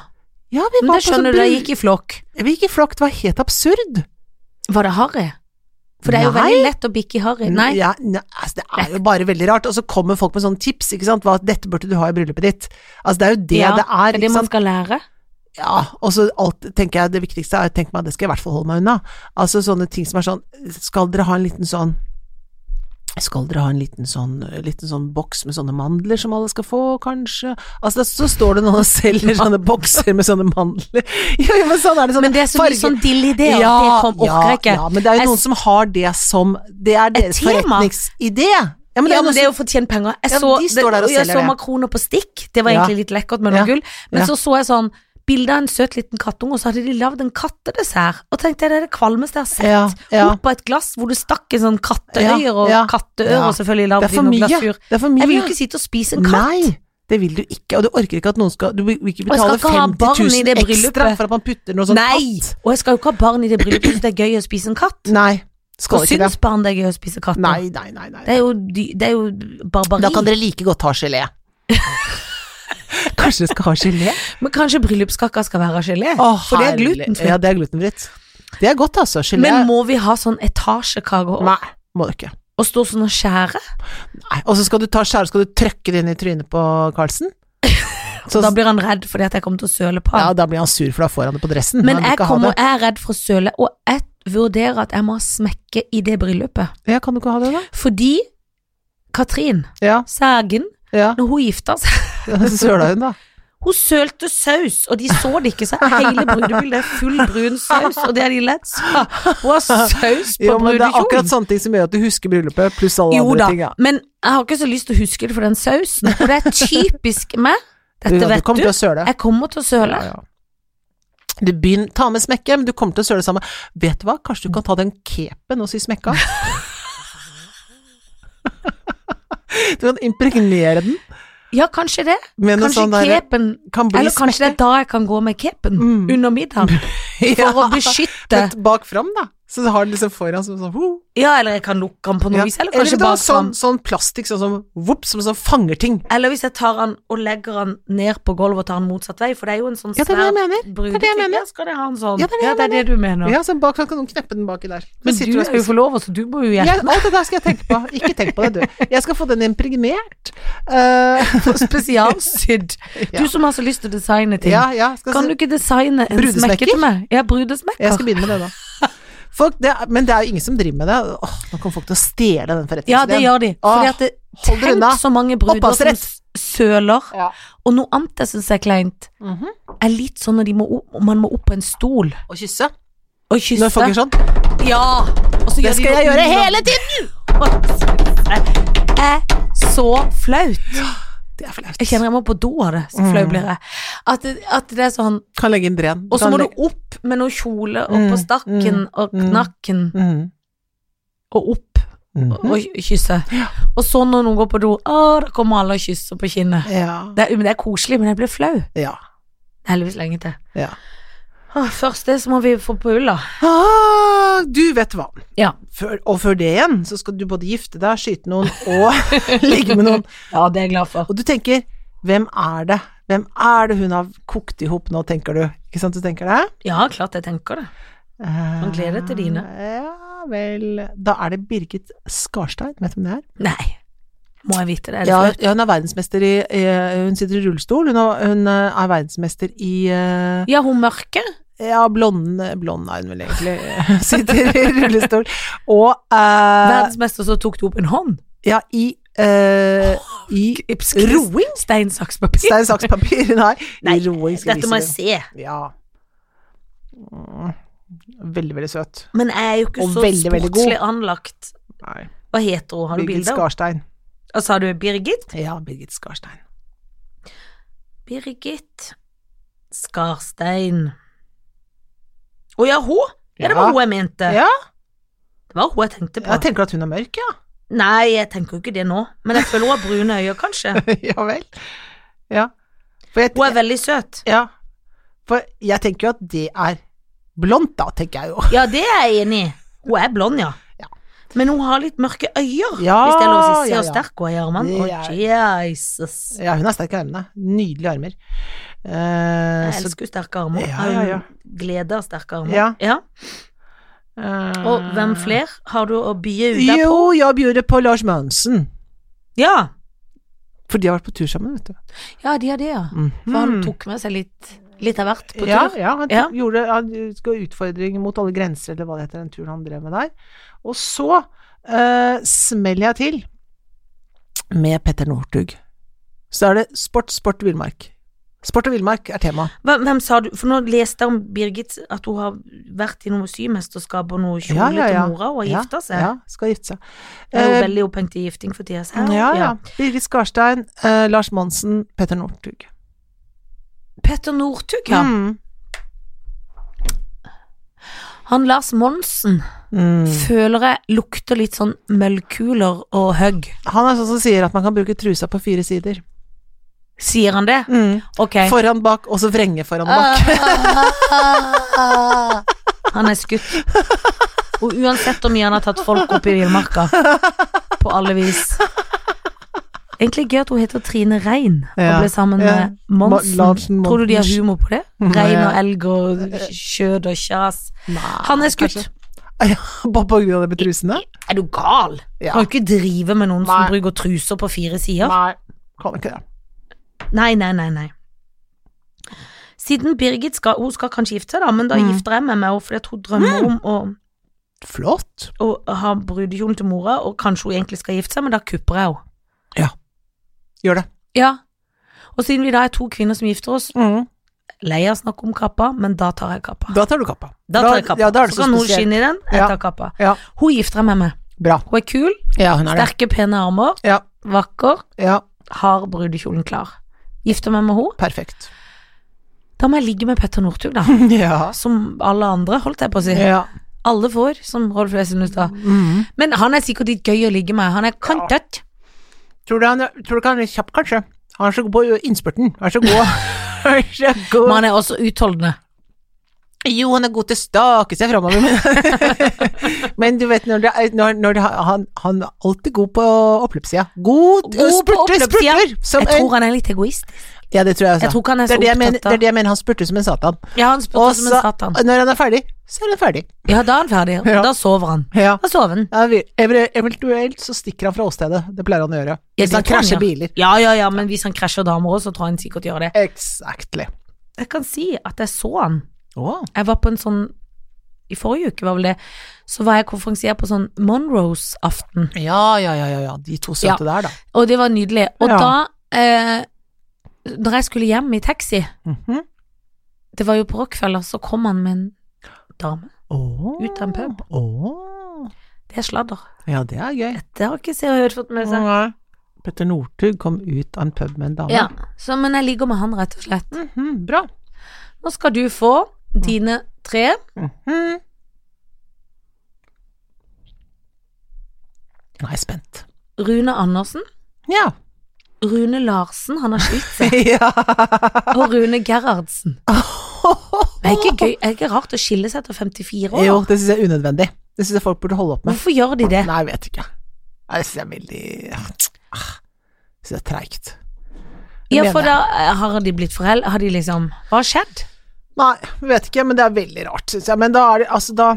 Speaker 2: Ja, vi
Speaker 1: Men
Speaker 2: var
Speaker 1: det
Speaker 2: på sånn
Speaker 1: skjønner du, jeg
Speaker 2: brud-
Speaker 1: gikk i flokk.
Speaker 2: Vi gikk i flokk, det var helt absurd.
Speaker 1: Var det harry? For det er jo
Speaker 2: Nei.
Speaker 1: veldig lett å bikke i harry. Nei.
Speaker 2: Ja, ne, altså, det er jo bare veldig rart, og så kommer folk med sånne tips, ikke sant, hva dette burde du ha i bryllupet ditt. Altså, det er jo det
Speaker 1: Ja,
Speaker 2: det er,
Speaker 1: Det er det
Speaker 2: ikke sant.
Speaker 1: man skal lære.
Speaker 2: Ja, og så alt, tenker jeg det viktigste er, tenk meg, det skal jeg i hvert fall holde meg unna. Altså sånne ting som er sånn, skal dere ha en liten sånn skal dere ha en liten sånn, liten sånn boks med sånne mandler som alle skal få, kanskje? Altså, så står det noen og selger sånne bokser med sånne mandler. Jo, jo, men sånn er det sånn
Speaker 1: Men det er så mye sånn dill i det, og det kom- orker jeg ikke.
Speaker 2: Ja, men det er
Speaker 1: Jeg
Speaker 2: jo
Speaker 1: s-
Speaker 2: noen som har det som Det er deres
Speaker 1: tema.
Speaker 2: forretningsidé. Ja,
Speaker 1: Ja, men det er jo
Speaker 2: noen som-
Speaker 1: for å tjene penger. Jeg
Speaker 2: Ja,
Speaker 1: så,
Speaker 2: de står der og
Speaker 1: det, jeg
Speaker 2: selger
Speaker 1: så
Speaker 2: det.
Speaker 1: makroner på stikk, det var
Speaker 2: Ja.
Speaker 1: egentlig litt lekkert med noe
Speaker 2: Ja.
Speaker 1: gull. Men
Speaker 2: Ja.
Speaker 1: så så jeg sånn bilde av en søt liten kattunge, og så hadde de lagd en kattedessert. Og tenkte jeg, det er det kvalmeste jeg har sett.
Speaker 2: ja, ja.
Speaker 1: Opp på et glass hvor du stakk en sånn katteøyer og
Speaker 2: Ja, ja.
Speaker 1: katteører,
Speaker 2: Ja.
Speaker 1: og selvfølgelig
Speaker 2: Det er
Speaker 1: lagde de
Speaker 2: for
Speaker 1: noe
Speaker 2: mye.
Speaker 1: glasur.
Speaker 2: Det er for mye.
Speaker 1: Jeg vil jo ikke sitte og spise en katt.
Speaker 2: Nei, det vil du ikke. Og du orker ikke at noen skal Du vil ikke
Speaker 1: jeg skal
Speaker 2: betale
Speaker 1: ikke ha
Speaker 2: 50
Speaker 1: barn i
Speaker 2: 000
Speaker 1: det
Speaker 2: ekstra
Speaker 1: bryllupet.
Speaker 2: for at man putter noe sånt
Speaker 1: Nei!
Speaker 2: Altså, katt.
Speaker 1: Og jeg skal jo ikke ha barn i det bryllupet, så det er gøy å spise en katt.
Speaker 2: Nei.
Speaker 1: Og
Speaker 2: Skal ikke
Speaker 1: syns
Speaker 2: det.
Speaker 1: barn det er gøy å spise katt?
Speaker 2: Nei, nei, nei. nei.
Speaker 1: Det er jo, dy- det er jo barbari.
Speaker 2: Da kan dere like godt ha gelé. Kanskje dere skal ha gelé?
Speaker 1: Men kanskje bryllupskaka skal være av gelé? for det er glutenfritt.
Speaker 2: Ja, det er glutenfritt. Det er godt, altså. Gelé
Speaker 1: Men må vi ha sånn etasjekake og,
Speaker 2: Nei, må du ikke.
Speaker 1: og stå sånn og skjære?
Speaker 2: Nei. Og så skal du ta skjære, skal du trøkke det inn i trynet på Carlsen? Så,
Speaker 1: Da blir han redd fordi at jeg kommer til å søle på
Speaker 2: ja,
Speaker 1: ham.
Speaker 2: da blir han sur, for da får han det på dressen.
Speaker 1: Men
Speaker 2: han vil
Speaker 1: jeg,
Speaker 2: ikke ha
Speaker 1: kommer,
Speaker 2: det.
Speaker 1: jeg er redd for å søle, og jeg vurderer at jeg må ha smekke i det bryllupet.
Speaker 2: Ja, kan du ikke ha det, da?
Speaker 1: Fordi Katrin
Speaker 2: Ja,
Speaker 1: Sægen,
Speaker 2: ja.
Speaker 1: når hun gifta seg,
Speaker 2: Søla hun, da.
Speaker 1: hun sølte saus, og de så det ikke, så hele brudebildet er full brun saus, og det har de lett. Så Hun har saus på
Speaker 2: Jo, men det er akkurat
Speaker 1: brudekjolen.
Speaker 2: sånne ting som gjør at du husker bryllupet, pluss alle
Speaker 1: Jo
Speaker 2: andre
Speaker 1: da,
Speaker 2: ting. Ja.
Speaker 1: men jeg har ikke så lyst til å huske det for den sausen, og det er typisk meg. Dette
Speaker 2: du
Speaker 1: vet
Speaker 2: kommer
Speaker 1: du.
Speaker 2: til å søle.
Speaker 1: Jeg kommer til å søle.
Speaker 2: Ja, ja. Du begynn, ta med smekke, men du kommer til å søle sammen. Vet du hva, kanskje du kan ta den kepen og si smekka? du kan impregnere den
Speaker 1: Ja, kanskje det.
Speaker 2: med noe
Speaker 1: Kanskje
Speaker 2: sånn derre
Speaker 1: kepen
Speaker 2: Kan bli
Speaker 1: Eller kanskje det
Speaker 2: smekke.
Speaker 1: er da jeg kan gå med kepen
Speaker 2: Mm.
Speaker 1: under middagen
Speaker 2: Ja,
Speaker 1: for å beskytte.
Speaker 2: men bak fram, da. Så du har den liksom foran som sånn ho.
Speaker 1: Ja, eller jeg kan lukke den på noe
Speaker 2: Ja.
Speaker 1: vis, eller
Speaker 2: Eller
Speaker 1: kanskje
Speaker 2: vet du hva,
Speaker 1: bak fram.
Speaker 2: sånn, sånn plastikk sånn som vops, som sånn fanger ting.
Speaker 1: Eller hvis jeg tar den og legger den ned på gulvet og tar den motsatt vei, for det er jo en sånn
Speaker 2: Ja, det er det jeg mener.
Speaker 1: brudeting.
Speaker 2: det jeg mener.
Speaker 1: Ja, skal det ha en sånn. Ja,
Speaker 2: Ja, det er
Speaker 1: det
Speaker 2: det jeg
Speaker 1: er det, du mener.
Speaker 2: Ja, så bak fram kan noen kneppe den baki der. Så
Speaker 1: Men
Speaker 2: sitter
Speaker 1: du er
Speaker 2: og
Speaker 1: jo
Speaker 2: spiser-
Speaker 1: forlover, så du må jo
Speaker 2: Jeg,
Speaker 1: hjelpe.
Speaker 2: alt det der skal jeg tenke på. Ikke tenk på det, du. Jeg skal få den impregnert. Eh,
Speaker 1: Spesialsydd.
Speaker 2: Ja.
Speaker 1: Du som har så lyst til å designe ting.
Speaker 2: ja, ja, skal
Speaker 1: Kan du ikke designe en smekke
Speaker 2: Brudesmekker?
Speaker 1: til meg? Ja, brudesmekker.
Speaker 2: Jeg skal begynne med det, da. Folk, det, er- men det er jo ingen som driver med det. Åh, nå kommer folk til å stjele den forretningsideen.
Speaker 1: Ja, det gjør de. Fordi
Speaker 2: Åh,
Speaker 1: at det,
Speaker 2: hold dere
Speaker 1: tenk
Speaker 2: unna.
Speaker 1: så mange bruder som
Speaker 2: Opphavsrett.
Speaker 1: s- søler.
Speaker 2: Ja.
Speaker 1: Og noe annet jeg syns er kleint,
Speaker 2: Mhm.
Speaker 1: er litt sånn når de må opp, man må opp på en stol
Speaker 2: Å kysse.
Speaker 1: og
Speaker 2: Når folk
Speaker 1: kysse.
Speaker 2: gjør sånn.
Speaker 1: Ja! Og så
Speaker 2: Det skal jeg gjøre hele
Speaker 1: tiden! Det er så flaut.
Speaker 2: Det er flaut.
Speaker 1: Jeg kjenner jeg må på do av det, så flau
Speaker 2: Mm.
Speaker 1: blir jeg. At, det- at det er sånn
Speaker 2: Kan legge inn dren.
Speaker 1: Og så
Speaker 2: Kan
Speaker 1: må du
Speaker 2: legge-
Speaker 1: opp med noe kjole og
Speaker 2: Mm,
Speaker 1: på stakken og
Speaker 2: mm.
Speaker 1: knakken
Speaker 2: Mhm.
Speaker 1: og opp
Speaker 2: Mhm.
Speaker 1: og kysse. Og så når noen går på do, å, da kommer alle og kysser på kinnet.
Speaker 2: Ja.
Speaker 1: Det er, men det er koselig, men jeg blir flau.
Speaker 2: ja.
Speaker 1: Det er Heldigvis lenge til.
Speaker 2: Ja.
Speaker 1: Åh, først det, så må vi få på ulla.
Speaker 2: Ah, du vet hva.
Speaker 1: Ja.
Speaker 2: Før, og før det igjen, så skal du både gifte deg, skyte noen og ligge med noen.
Speaker 1: Ja, det er jeg glad for.
Speaker 2: Og du tenker, hvem er det? Hvem er det hun har kokt i hop nå, tenker du? Ikke sant du tenker det?
Speaker 1: Ja, klart jeg tenker det.
Speaker 2: Man
Speaker 1: gleder til dine.
Speaker 2: Eh, Ja vel. Da er det Birgit Skarstein, vet du hvem det er?
Speaker 1: Nei. Må jeg vite det? Er det
Speaker 2: Ja,
Speaker 1: flaut?
Speaker 2: ja, hun er verdensmester i eh, Hun sitter i rullestol. Hun er, hun er verdensmester i eh,
Speaker 1: ja, hun mørke.
Speaker 2: Ja, blond, blond er hun vel egentlig. sitter i rullestol. Og eh,
Speaker 1: Verdensmester, så tok du opp en hånd.
Speaker 2: Ja, i eh, I roing?
Speaker 1: Stein, saks, papir.
Speaker 2: Stein, saks, papir. Nei,
Speaker 1: Nei,
Speaker 2: i roing skal
Speaker 1: Dette
Speaker 2: jeg
Speaker 1: må
Speaker 2: vise
Speaker 1: jeg se.
Speaker 2: deg. Ja. Mm. Veldig, veldig søt.
Speaker 1: Men jeg er jo ikke
Speaker 2: Og
Speaker 1: så
Speaker 2: veldig, veldig god.
Speaker 1: sportslig anlagt.
Speaker 2: Nei.
Speaker 1: Hva heter hun? Har du
Speaker 2: Birgit
Speaker 1: bilder?
Speaker 2: Skarstein.
Speaker 1: Og sa du Birgit?
Speaker 2: Ja, Birgit Skarstein.
Speaker 1: Birgit Skarstein. Å ja, hun? Ja, det var
Speaker 2: Ja.
Speaker 1: hun jeg mente.
Speaker 2: Ja,
Speaker 1: Det var hun jeg tenkte på.
Speaker 2: jeg tenker at hun er mørk, ja.
Speaker 1: Nei, jeg tenker jo ikke det nå, men jeg føler hun har brune øyne, kanskje.
Speaker 2: ja vel. Ja. For jeg,
Speaker 1: Hun er veldig søt.
Speaker 2: ja. For jeg tenker jo at det er blondt, da, tenker jeg jo.
Speaker 1: Ja, det er jeg enig i. Hun er blond, ja.
Speaker 2: Ja.
Speaker 1: Men hun har litt mørke øyne,
Speaker 2: Ja,
Speaker 1: hvis det er lov å si. Se
Speaker 2: ja,
Speaker 1: hvor
Speaker 2: ja.
Speaker 1: sterk hun er i armene.
Speaker 2: Det
Speaker 1: Å, Jesus.
Speaker 2: Ja, hun er sterk i armene. Nydelige armer. Eh,
Speaker 1: Jeg
Speaker 2: så-
Speaker 1: elsker jo sterke armer.
Speaker 2: Ja, ja, ja.
Speaker 1: Glede av sterke armer.
Speaker 2: Ja. eh,
Speaker 1: Og hvem fler har du å bie ut der på?
Speaker 2: Jo, jeg bjuder på Lars Monsen.
Speaker 1: Ja.
Speaker 2: For de har vært på tur sammen, vet du. Mhm.
Speaker 1: ja, de har det, ja. For han tok med seg litt, litt av hvert på tur.
Speaker 2: Ja, ja, han
Speaker 1: Ja.
Speaker 2: gjorde han skulle ha utfordring mot alle grenser, eller hva det heter, den turen han drev med der. Og så eh, smeller jeg til med Petter Northug. Så er det sport, sport, villmark. Sport og villmark er tema.
Speaker 1: Hvem, hvem sa du For nå leste jeg om Birgit at hun har vært i noe symesterskap og noe kjole
Speaker 2: Ja, ja, ja.
Speaker 1: til mora og har
Speaker 2: Ja,
Speaker 1: gifta seg.
Speaker 2: Ja, skal gifte seg.
Speaker 1: Jeg er jo
Speaker 2: Eh,
Speaker 1: veldig opphengt i gifting for tida. så her-
Speaker 2: ja, ja. Birgit Skarstein, eh, Lars Monsen, Petter Northug.
Speaker 1: Petter Northug, ja.
Speaker 2: Mm.
Speaker 1: Han Lars Monsen
Speaker 2: Mm.
Speaker 1: føler jeg lukter litt sånn møllkuler og hugg.
Speaker 2: Han er sånn som sier at man kan bruke trusa på fire sider.
Speaker 1: Sier han det? Ok.
Speaker 2: Foran, bak, og så vrenge foran og
Speaker 1: Ah.
Speaker 2: bak.
Speaker 1: Han er skutt. Og uansett hvor mye han har tatt folk opp i villmarka. På alle vis. Egentlig gøy at hun heter Trine Rein og
Speaker 2: Ja,
Speaker 1: ble sammen
Speaker 2: ja.
Speaker 1: med Monsen.
Speaker 2: Ma- Larsen
Speaker 1: Tror du de har
Speaker 2: Monsen.
Speaker 1: humor på det?
Speaker 2: Nei,
Speaker 1: Rein og
Speaker 2: ja.
Speaker 1: elg og skjød og kjas. Han er skutt.
Speaker 2: Ja, Bare på grunn av det med trusene?
Speaker 1: Er du gal?
Speaker 2: Ja.
Speaker 1: Kan du ikke drive med noen
Speaker 2: Nei.
Speaker 1: som bruker truser på fire sider?
Speaker 2: Nei, kan ikke det.
Speaker 1: Nei, nei, nei, nei. Siden Birgit skal, hun skal kanskje gifte seg, da, men da
Speaker 2: Mm.
Speaker 1: gifter jeg meg med henne fordi at hun drømmer om å
Speaker 2: Flott.
Speaker 1: og har brudekjolen til mora, og kanskje hun egentlig skal gifte seg, men da kupper jeg henne.
Speaker 2: Gjør det.
Speaker 1: Ja. Og siden vi da er to kvinner som gifter oss,
Speaker 2: Mm.
Speaker 1: lei av å snakke om kappa, men da tar jeg kappa.
Speaker 2: Da tar du kappa.
Speaker 1: Da tar jeg kappa.
Speaker 2: Ja, da er det
Speaker 1: så,
Speaker 2: så,
Speaker 1: kan hun
Speaker 2: spesielt.
Speaker 1: skinne i den, jeg
Speaker 2: Ja.
Speaker 1: tar kappa.
Speaker 2: Ja.
Speaker 1: Hun gifter jeg meg med.
Speaker 2: Bra.
Speaker 1: Hun er kul,
Speaker 2: Ja, hun er det.
Speaker 1: sterke, pene armer,
Speaker 2: Ja,
Speaker 1: vakker,
Speaker 2: ja.
Speaker 1: har brudekjolen klar. Gifter meg med henne.
Speaker 2: Perfekt.
Speaker 1: Da må jeg ligge med Petter Northug, da.
Speaker 2: Ja.
Speaker 1: Som alle andre, holdt jeg på å si.
Speaker 2: ja.
Speaker 1: Alle får, som Rolf Lesenhus sa.
Speaker 2: Mm.
Speaker 1: Men han er sikkert litt gøy å ligge med. Han er kantet.
Speaker 2: Tror du han tror du ikke han er kjapp, kanskje? Han er så god på innspurten. Han er så god. Han er så god.
Speaker 1: Men han er også utholdende.
Speaker 2: Jo, han er god til å stake seg framover, men Men du vet, når det, er- når, når det, er- han, han er alltid god på oppløpssida. God,
Speaker 1: God på
Speaker 2: spurter,
Speaker 1: oppløpssida.
Speaker 2: spurter! Som
Speaker 1: Jeg tror
Speaker 2: en,
Speaker 1: han er litt egoistisk.
Speaker 2: ja, det tror jeg også.
Speaker 1: Jeg tror ikke han er
Speaker 2: det,
Speaker 1: så
Speaker 2: er det, jeg mener,
Speaker 1: opptatt
Speaker 2: det
Speaker 1: av
Speaker 2: er det jeg mener, han spurter som en satan.
Speaker 1: Ja, han
Speaker 2: Og
Speaker 1: spurte som en
Speaker 2: så,
Speaker 1: satan.
Speaker 2: når han er ferdig, så er han ferdig.
Speaker 1: Ja, da er han ferdig.
Speaker 2: Ja.
Speaker 1: Da sover han.
Speaker 2: Ja.
Speaker 1: Da sover han.
Speaker 2: Ja, vi- evre- Eventuelt så stikker han fra åstedet, det pleier han å gjøre.
Speaker 1: Ja,
Speaker 2: Hvis
Speaker 1: det
Speaker 2: han
Speaker 1: tror han
Speaker 2: krasjer
Speaker 1: gjør.
Speaker 2: biler.
Speaker 1: Ja, ja, ja, men hvis han krasjer damer òg, så tror jeg han sikkert gjør det.
Speaker 2: Exactly.
Speaker 1: Jeg kan si at jeg så han.
Speaker 2: Åh.
Speaker 1: Jeg var på en sånn I forrige uke, var vel det, så var jeg konferansier på sånn Monroes-aften.
Speaker 2: Ja, ja, ja, ja, ja, de to søte
Speaker 1: Ja.
Speaker 2: der, da.
Speaker 1: Og det var nydelig. Og
Speaker 2: Ja.
Speaker 1: da eh, Når jeg skulle hjem i taxi,
Speaker 2: Mhm.
Speaker 1: det var jo på Rockefeller, så kom han med en dame.
Speaker 2: Åh.
Speaker 1: Ut av en pub.
Speaker 2: Åh.
Speaker 1: Det er sladder.
Speaker 2: Ja, det er gøy.
Speaker 1: Det har ikke Se og Hørt fått med seg.
Speaker 2: Nei. Petter Northug kom ut av en pub med en dame.
Speaker 1: Ja, så, men jeg ligger med han, rett og slett.
Speaker 2: Mhm, bra.
Speaker 1: Nå skal du få dine tre.
Speaker 2: Mhm. Nå er jeg spent.
Speaker 1: Rune Andersen,
Speaker 2: Ja.
Speaker 1: Rune Larsen, han har skilt seg,
Speaker 2: ja.
Speaker 1: og Rune Gerhardsen. Men er ikke gøy, er ikke rart å skille seg etter 54 år?
Speaker 2: Jo, det syns jeg er unødvendig. Det syns jeg folk burde holde opp med.
Speaker 1: Hvorfor gjør de det?
Speaker 2: Nei, jeg vet ikke. Nei, Det syns jeg er veldig Ah, synes jeg er treigt. Det
Speaker 1: Ja,
Speaker 2: mener
Speaker 1: for
Speaker 2: jeg.
Speaker 1: da eh, har de blitt foreldre, har de liksom Hva har skjedd?
Speaker 2: Nei, jeg vet ikke, men det er veldig rart, syns jeg. Men da er det altså da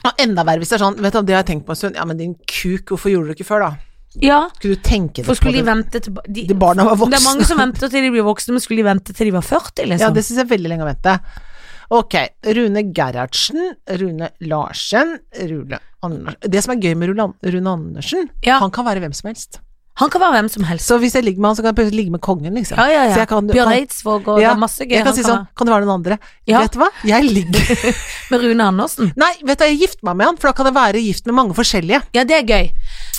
Speaker 2: og Enda verre hvis det er sånn, vet du, det har jeg tenkt på en stund, ja, men din kuk, hvorfor gjorde du det ikke før, da?
Speaker 1: Ja,
Speaker 2: Skulle du tenke
Speaker 1: for skulle de
Speaker 2: det?
Speaker 1: vente til ba- de,
Speaker 2: De barna var voksne.
Speaker 1: Det er mange som venter til de blir voksne, men skulle de vente til de var 40, liksom?
Speaker 2: Ja, det syns jeg er veldig lenge å vente. Ok, Rune Gerhardsen, Rune Larsen, Rune Andersen Det som er gøy med Rune An- Rune Andersen,
Speaker 1: Ja.
Speaker 2: han kan være hvem som helst.
Speaker 1: Han kan være hvem som helst.
Speaker 2: Så hvis jeg ligger med han, så kan jeg plutselig ligge med kongen, liksom.
Speaker 1: Ja, ja, ja.
Speaker 2: Så jeg kan,
Speaker 1: Bjørn
Speaker 2: kan-
Speaker 1: Eidsvåg og det
Speaker 2: Ja,
Speaker 1: er masse gøy.
Speaker 2: Jeg kan
Speaker 1: han
Speaker 2: si
Speaker 1: kan
Speaker 2: sånn, kan det være noen andre?
Speaker 1: Ja.
Speaker 2: Vet du hva, jeg ligger
Speaker 1: ha. Med Rune Andersen.
Speaker 2: Nei, vet du hva, jeg gifter meg med han, for da kan jeg være gift med mange forskjellige.
Speaker 1: Ja, det er gøy.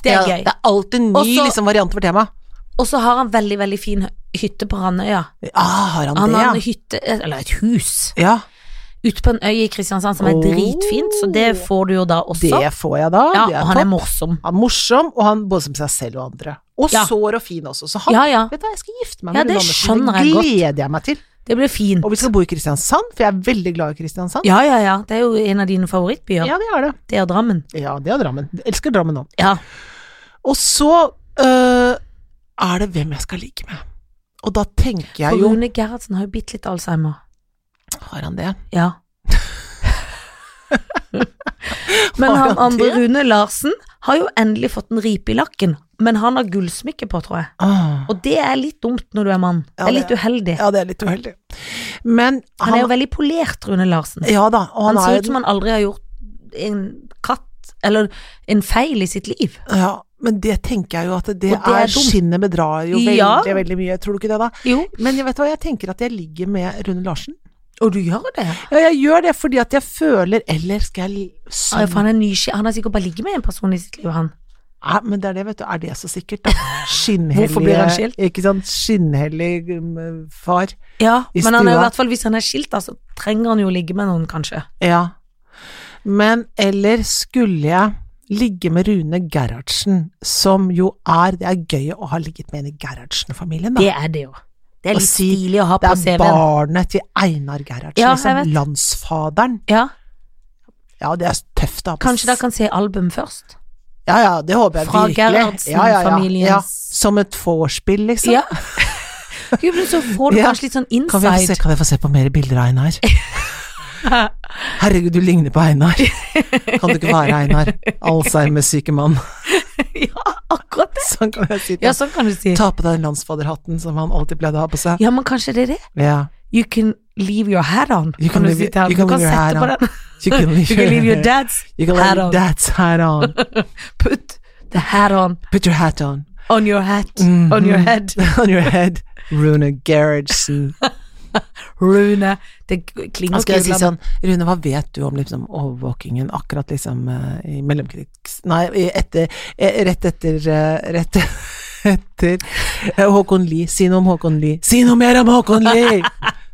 Speaker 1: Det er
Speaker 2: Ja,
Speaker 1: gøy.
Speaker 2: det er alltid ny
Speaker 1: Også-
Speaker 2: liksom, variant for temaet.
Speaker 1: Og så har han veldig, veldig fin hytte på Randøya.
Speaker 2: Ah, har han,
Speaker 1: Han
Speaker 2: det,
Speaker 1: har en hytte, eller et hus,
Speaker 2: ja?
Speaker 1: ute på en øy i Kristiansand som er
Speaker 2: Oh.
Speaker 1: dritfint, så det får du jo da også.
Speaker 2: Det får jeg da.
Speaker 1: ja,
Speaker 2: det
Speaker 1: og
Speaker 2: er
Speaker 1: han er
Speaker 2: topp.
Speaker 1: morsom.
Speaker 2: Han er morsom, og han både som seg selv og andre. Og
Speaker 1: Ja.
Speaker 2: sår og fin også. Så han,
Speaker 1: Ja, ja.
Speaker 2: vet du hva, jeg skal gifte meg
Speaker 1: Ja,
Speaker 2: med
Speaker 1: det
Speaker 2: Rune Andersen.
Speaker 1: skjønner jeg
Speaker 2: Det
Speaker 1: godt.
Speaker 2: gleder jeg meg til.
Speaker 1: Det blir fint.
Speaker 2: Og vi skal bo i Kristiansand, for jeg er veldig glad i Kristiansand.
Speaker 1: Ja, ja, ja. Det er jo en av dine favorittbyer.
Speaker 2: det er det.
Speaker 1: Det er Drammen.
Speaker 2: Ja, det er Drammen. Jeg elsker Drammen nå.
Speaker 1: Ja.
Speaker 2: Og så øh, er det hvem jeg skal ligge med. Og da tenker
Speaker 1: For
Speaker 2: jeg jo
Speaker 1: Rune Gerhardsen har jo bitte litt Alzheimer.
Speaker 2: Har han det?
Speaker 1: Ja. Men
Speaker 2: Har
Speaker 1: han
Speaker 2: han
Speaker 1: andre
Speaker 2: det?
Speaker 1: Rune Larsen har jo endelig fått en ripe i lakken, men han har gullsmykke på, tror jeg.
Speaker 2: Ah.
Speaker 1: Og det er litt dumt når du er mann.
Speaker 2: Ja,
Speaker 1: det er
Speaker 2: det
Speaker 1: litt uheldig.
Speaker 2: Ja, det er litt uheldig. Men
Speaker 1: Han er jo veldig polert, Rune Larsen.
Speaker 2: Ja da, og
Speaker 1: Han,
Speaker 2: han,
Speaker 1: ser
Speaker 2: er
Speaker 1: ut som han aldri har gjort en katt tatt Eller en feil i sitt liv.
Speaker 2: Ja, men det tenker jeg jo at det,
Speaker 1: Og det er
Speaker 2: er,
Speaker 1: dumt.
Speaker 2: Skinnet bedrar jo veldig,
Speaker 1: Ja.
Speaker 2: veldig mye. Tror du ikke det, da?
Speaker 1: Jo.
Speaker 2: Men jeg vet hva, jeg tenker at jeg ligger med Rune Larsen.
Speaker 1: Og du gjør det?
Speaker 2: Ja, jeg gjør det fordi at jeg føler Eller skal jeg
Speaker 1: Ah, ja,
Speaker 2: sånn
Speaker 1: for han, er nysgjer- han har sikkert bare ligget med en person i sitt liv, han.
Speaker 2: Nei, Ah, men det er det, vet du. Er det så sikkert, da? Skinnhellig
Speaker 1: Hvorfor blir han skilt?
Speaker 2: Ikke sant. Skinnhellig um, far.
Speaker 1: Ja,
Speaker 2: I
Speaker 1: men han er jo i
Speaker 2: stua.
Speaker 1: hvert fall hvis han er skilt, da, så trenger han jo å ligge med noen, kanskje.
Speaker 2: Ja. Men eller skulle jeg ligge med Rune Gerhardsen, som jo er Det er gøy å ha ligget med en i Gerhardsen-familien, da.
Speaker 1: Det er det jo. Det er
Speaker 2: Å
Speaker 1: litt
Speaker 2: si
Speaker 1: stilig å ha
Speaker 2: Det
Speaker 1: på
Speaker 2: er
Speaker 1: CV-en.
Speaker 2: barnet til Einar Gerhardsen,
Speaker 1: Ja, jeg vet.
Speaker 2: liksom. Landsfaderen.
Speaker 1: Ja,
Speaker 2: Ja, det er tøft, da.
Speaker 1: kanskje dere kan se album først?
Speaker 2: Ja, ja, det håper jeg
Speaker 1: Fra
Speaker 2: virkelig.
Speaker 1: Gerhardsen,
Speaker 2: ja, ja, ja.
Speaker 1: familiens-
Speaker 2: Ja, som et vorspiel, liksom.
Speaker 1: Ja. Jo, men så får du
Speaker 2: Ja.
Speaker 1: kanskje litt sånn
Speaker 2: Kan, vi få se,
Speaker 1: inside.
Speaker 2: kan jeg få se på mer bilder av Einar? Herregud, du ligner på Einar. Kan du ikke være Einar? Alzheimer-syke mann.
Speaker 1: ja, akkurat det.
Speaker 2: Sånn kan jeg si
Speaker 1: Ja,
Speaker 2: det.
Speaker 1: sånn kan du si.
Speaker 2: Ta på deg den landsfaderhatten som han alltid pleide å ha på seg.
Speaker 1: Ja, men kanskje det er det.
Speaker 2: Ja.
Speaker 1: You can leave your hat on,
Speaker 2: You
Speaker 1: kan
Speaker 2: can
Speaker 1: du
Speaker 2: leave-
Speaker 1: si til ham. Du
Speaker 2: you can
Speaker 1: kan
Speaker 2: leave your
Speaker 1: sette på
Speaker 2: hat
Speaker 1: den.
Speaker 2: You can
Speaker 1: You can leave your dad's
Speaker 2: You can
Speaker 1: hat
Speaker 2: leave
Speaker 1: on.
Speaker 2: dad's hat on.
Speaker 1: Put the hat on,
Speaker 2: Put your hat on.
Speaker 1: on your hat,
Speaker 2: Mm-hmm.
Speaker 1: on your head.
Speaker 2: on your head. Rune Gerhardsen.
Speaker 1: Rune. Det klinger ikke
Speaker 2: Han skal si
Speaker 1: utlandet.
Speaker 2: sånn Rune, hva vet du om liksom, overvåkingen akkurat liksom eh, i mellomkrigs... Nei, i etter, eh, rett etter eh, Rett etter eh, Håkon Lie. Si noe om Håkon Lie. Si noe mer om Håkon Lie!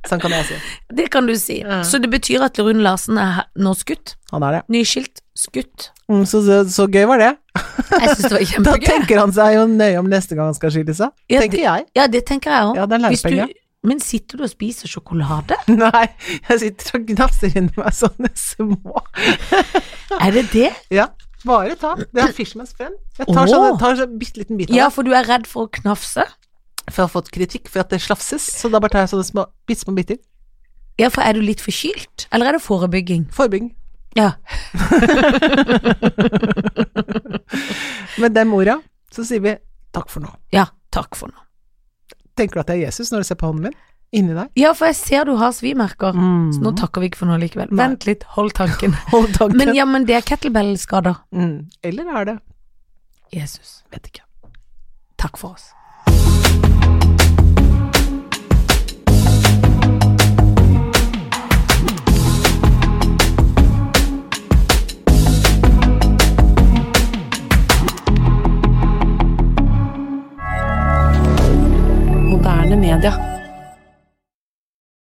Speaker 2: Sånn kan jeg si.
Speaker 1: Det kan du si. Så det betyr at Rune Larsen er he- nå skutt?
Speaker 2: Han er det.
Speaker 1: Nyskilt? Skutt?
Speaker 2: Mm, så, så, så gøy var det.
Speaker 1: Jeg syns det var
Speaker 2: Da
Speaker 1: kjempegøy.
Speaker 2: tenker han seg jo nøye om neste gang han skal skille seg.
Speaker 1: Ja,
Speaker 2: tenker jeg.
Speaker 1: Ja, det tenker jeg òg.
Speaker 2: Ja, det er lærepenge.
Speaker 1: Men sitter du og spiser sjokolade?
Speaker 2: Nei, jeg sitter og gnafser inni meg sånne små
Speaker 1: Er det det?
Speaker 2: Ja, bare ta. Det er Fishman's Friend. Jeg tar
Speaker 1: Åh.
Speaker 2: sånn en tar sånn bitte liten bit av
Speaker 1: Ja, for du er redd for å knafse?
Speaker 2: det. For jeg har fått kritikk for at det slafses, så da bare tar jeg sånne små, bitte små biter.
Speaker 1: Ja, for er du litt forkylt? Eller er det forebygging?
Speaker 2: Forebygging.
Speaker 1: Ja.
Speaker 2: Med den mora så sier vi takk for nå.
Speaker 1: Ja, takk for nå.
Speaker 2: Tenker du at det er Jesus når du ser på hånden min? Inni deg?
Speaker 1: Ja, for jeg ser du har svimerker. Så nå takker vi ikke for noe likevel.
Speaker 2: Mm. Nei.
Speaker 1: Vent litt, hold tanken.
Speaker 2: Hold tanken.
Speaker 1: Men ja, men det er kettlebell-skader.
Speaker 2: mm. Eller er det
Speaker 1: Jesus.
Speaker 2: Vet ikke.
Speaker 1: Takk for oss.